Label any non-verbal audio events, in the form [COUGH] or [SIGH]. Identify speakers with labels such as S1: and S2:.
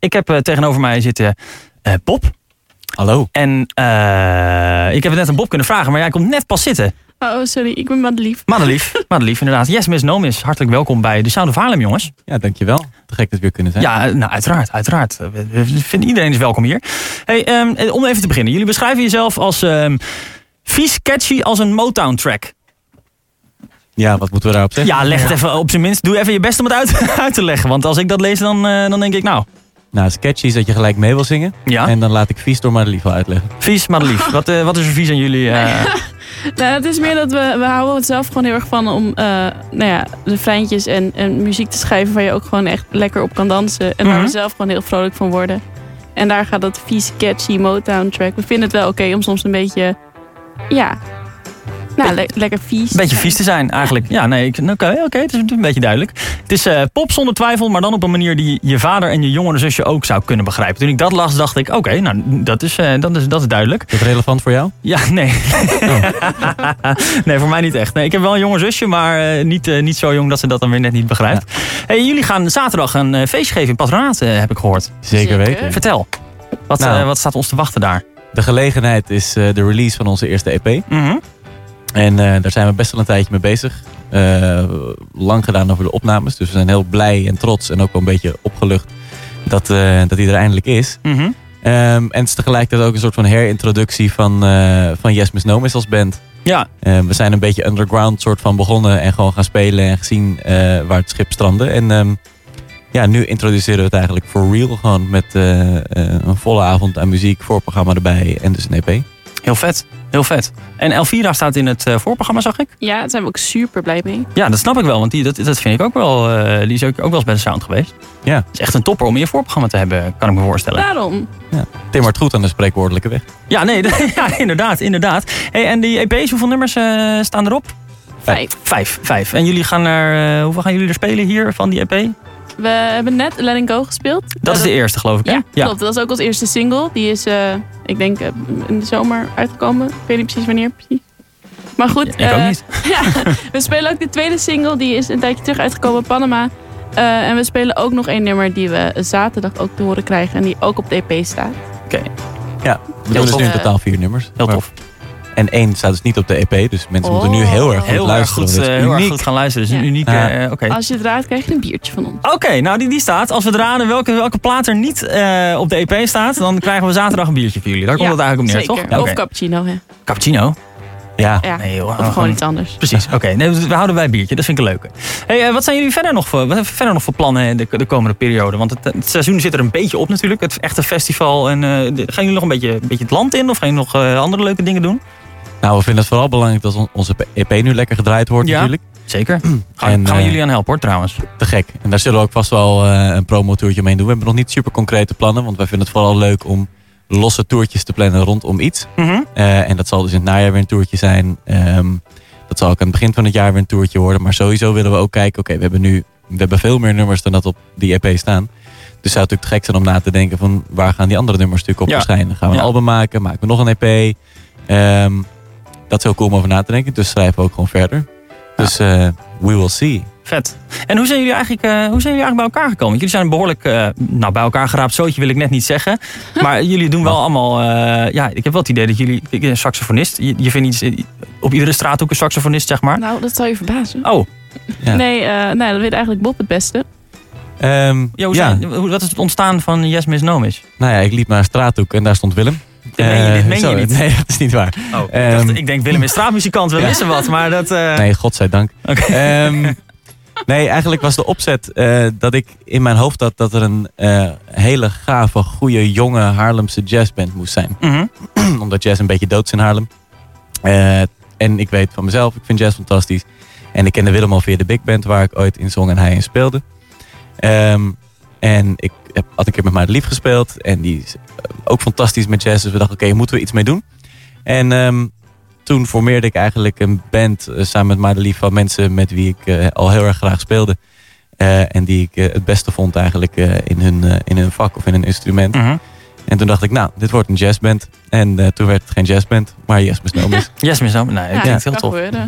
S1: Ik heb eh, tegenover mij zitten eh Bob.
S2: Hallo.
S1: En eh, ik heb het net aan Bob kunnen vragen, maar jij komt net pas zitten.
S3: Oh, sorry, ik ben Madelief.
S1: [LAUGHS] Madelief, Madelief inderdaad. Yes, Miss Nomis, hartelijk welkom bij de Sound of Haarlem, jongens.
S2: Ja, dankjewel. Te gek dat we weer kunnen zijn.
S1: Ja, eh, nou uiteraard, uiteraard. Eh, we- we vinden- Iedereen is welkom hier. Hey, ehm, eh, om even te beginnen. Jullie beschrijven jezelf als ehm, vies catchy als een Motown track.
S2: Ja, wat moeten we daarop zeggen?
S1: Ja, leg het even op zijn minst. Doe even je best om het uit, [LAUGHS] uit te leggen. Want als ik dat lees, dan, eh, dan denk ik nou...
S2: Nou, sketchy is dat je gelijk mee wil zingen.
S1: Ja,
S2: En dan laat ik vies door maar lief wel uitleggen.
S1: vies Madelief. Wat, eh, wat is er vies aan jullie? [LAUGHS] eh?
S3: Nou, het is meer dat we, we houden het zelf gewoon heel erg van om eh nou ja, refreintjes en, en muziek te schrijven waar je ook gewoon echt lekker op kan dansen. En waar
S1: Mhm.
S3: we zelf gewoon heel vrolijk van worden. En daar gaat dat vies, catchy Motown track. We vinden het wel oké om soms een beetje, ja, nou, le- lekker vies.
S1: Een beetje vies te zijn eigenlijk. Ja, nee, ik- oké, oké, het is een beetje duidelijk. Het is eh, pop zonder twijfel, maar dan op een manier die je vader en je jongere zusje ook zou kunnen begrijpen. Toen ik dat las, dacht ik, oké, nou, dat is, eh, dat, is, dat is duidelijk.
S2: Is dat relevant voor jou?
S1: Ja, nee. Oh. [LAUGHS] nee, voor mij niet echt. Nee, ik heb wel een jonge zusje, maar eh, niet, eh, niet zo jong dat ze dat dan weer net niet begrijpt. Hey, jullie gaan zaterdag een feest feestje geven in Patronaat, eh, heb ik gehoord.
S2: Zeker
S3: Zeker.
S2: weten.
S1: Vertel, wat,
S2: Nou.
S1: eh, wat staat ons te wachten daar?
S2: De gelegenheid is eh, de release van onze eerste EP.
S1: Mhm.
S2: En eh, daar zijn we best wel een tijdje mee bezig. Eh, lang gedaan over de opnames. Dus we zijn heel blij en trots en ook wel een beetje opgelucht dat, eh, dat die er eindelijk is.
S1: mhm.
S2: Ehm, en het is tegelijkertijd ook een soort van herintroductie van, eh, van Yes Miss Nomis als band.
S1: Ja,
S2: Eh, we zijn een beetje underground soort van begonnen en gewoon gaan spelen en gezien eh, waar het schip strandde. En ehm, ja, nu introduceren we het eigenlijk for real gewoon met eh, eh, een volle avond aan muziek, voorprogramma erbij en dus een EP.
S1: heel vet. Heel vet. En Elvira staat in het eh, voorprogramma, zag ik.
S3: Ja, daar zijn we ook super blij mee.
S1: Ja, dat snap ik wel, want die, dat, dat vind ik ook wel. eh, die is ook, ook wel eens bij de Sound geweest.
S2: Ja.
S1: Het is echt een topper om in je voorprogramma te hebben, kan ik me voorstellen.
S3: Daarom.
S2: Tim wordt goed aan de spreekwoordelijke weg.
S1: Ja, nee, [LAUGHS] ja, inderdaad, inderdaad. Hey, en die EP's, hoeveel nummers eh, staan erop?
S3: Vijf.
S1: Vijf, vijf. En jullie gaan naar, eh, hoeveel gaan jullie er spelen hier van die E EP?
S3: We hebben net Letting Go gespeeld. Eh,
S1: Dat is de eerste, geloof ik, hè?
S3: Ja, klopt. Dat is ook onze eerste single. Die is, eh, ik denk, eh, in de zomer uitgekomen. Ik weet niet precies wanneer precies. Maar goed,
S1: Ik
S3: eh,
S1: ook niet.
S3: ja, we spelen ook de tweede single. Die is een tijdje terug uitgekomen, Panama. Eh, en we spelen ook nog één nummer die we zaterdag ook te horen krijgen. En die ook op de EP staat.
S2: We doen dus
S3: tof.
S2: nu in totaal vier nummers.
S1: Heel
S2: Maar-
S1: tof.
S2: En één staat dus niet op de EP, dus mensen moeten nu
S3: Oh.
S2: heel erg goed
S1: Heel erg
S2: luisteren.
S1: goed,
S2: want
S1: eh,
S2: het is
S1: heel erg
S2: uniek.
S1: goed gaan luisteren. Het is een
S3: Ja.
S1: unieke...
S2: Ja.
S1: eh, Oké,
S3: Als je het raadt, krijg je een biertje van ons.
S1: Oké, nou die, die staat. Als we raden welke, welke plaat er niet eh, op de EP staat, dan krijgen we zaterdag een biertje voor jullie. Daar komt
S3: Ja,
S1: het eigenlijk om neer,
S3: Zeker.
S1: toch? Ja,
S3: Of
S1: oké.
S3: cappuccino, hè.
S1: Cappuccino?
S2: Ja.
S3: Ja.
S1: Nee, Oh. joh.
S3: Of gewoon iets anders.
S1: Precies, oké. Nee, we houden bij biertje, dat vind ik een leuke. Hey, eh, wat zijn jullie verder nog voor, wat hebben we verder nog voor plannen eh, de, de komende periode? Want het, het seizoen zit er een beetje op natuurlijk, het echte festival. En, eh, de- gaan jullie nog een beetje, een beetje het land in of gaan jullie nog eh, andere leuke dingen doen?
S2: Nou, we vinden het vooral belangrijk dat on- onze EP nu lekker gedraaid wordt
S1: Ja.
S2: natuurlijk.
S1: Zeker.
S2: [CLEARS THROAT]
S1: Gaan,
S2: En,
S1: gaan we
S2: eh,
S1: jullie aan helpen hoor trouwens.
S2: Te gek. En daar zullen we ook vast wel eh, een promotourtje mee doen. We hebben nog niet super concrete plannen, want wij vinden het vooral leuk om losse toertjes te plannen rondom iets.
S1: Mhm.
S2: Eh, en dat zal dus in het najaar weer een toertje zijn. Ehm, dat zal ook aan het begin van het jaar weer een toertje worden. Maar sowieso willen we ook kijken, oké, we hebben nu we hebben veel meer nummers dan dat op die EP staan. Dus zou het natuurlijk te gek zijn om na te denken van waar gaan die andere nummers natuurlijk op
S1: Ja.
S2: verschijnen. Gaan we een
S1: Ja.
S2: album maken? Maken we nog een EP? Ehm, dat is heel cool om over na te denken. Dus schrijven we ook gewoon verder. Dus eh, we will see.
S1: Vet. En hoe zijn jullie eigenlijk, eh, hoe zijn jullie eigenlijk bij elkaar gekomen? Want jullie zijn een behoorlijk eh, nou, bij elkaar geraapt zootje, wil ik net niet
S2: [LAUGHS]
S1: zeggen. Maar jullie doen wel allemaal... eh, ja, ik heb wel het idee dat jullie... ik- Een saxofonist, je, je vindt iets, eh, op iedere straat ook een saxofonist, zeg maar.
S3: Nou, dat zal je verbazen.
S1: Oh,
S2: Ja.
S3: Nee, eh, nee, dat weet eigenlijk Bob het beste.
S2: Ehm,
S1: Ja, hoe zijn- hoe- wat is het ontstaan van Yes Miss Nomis?
S2: Nou ja, ik liep naar een straathoek en daar stond Willem.
S1: Dit meen je,
S2: Eh,
S1: dit meen
S2: zo,
S1: je niet.
S2: Nee, [LAUGHS] dat is niet waar.
S1: Oh, ik,
S2: Ehm,
S1: dacht, ik denk Willem
S2: [LAUGHS]
S1: is straatmuzikant, we
S2: Ja.
S1: missen wat, maar dat... eh,
S2: Nee, godzijdank.
S1: Oké.
S2: Ehm, nee, eigenlijk was de opzet eh, dat ik in mijn hoofd had dat er een eh, hele gave, goede, jonge Haarlemse jazzband moest zijn.
S1: Mhm.
S2: [CLEARS THROAT] Omdat jazz een beetje dood is in Haarlem. Eh, en ik weet van mezelf, ik vind jazz fantastisch. En ik kende Willem al via de big band waar ik ooit in zong en hij in speelde. Ehm, en ik heb, had een keer met Maarten Lief gespeeld. En die is eh, ook fantastisch met jazz. Dus we dachten, oké, hier moeten we iets mee doen? En ehm, toen formeerde ik eigenlijk een band eh, samen met Maarten Lief van mensen met wie ik eh, al heel erg graag speelde. Eh, en die ik eh, het beste vond eigenlijk eh, in, hun, eh, in hun vak of in hun instrument.
S1: Mhm.
S2: En toen dacht ik, nou, dit wordt een jazzband. En eh, toen werd het geen jazzband, maar Yes Miss Nomis.
S1: Yes Miss Nomis, nee, dat
S3: Ja,
S1: klinkt heel
S3: kan
S1: tof.
S3: gebeuren.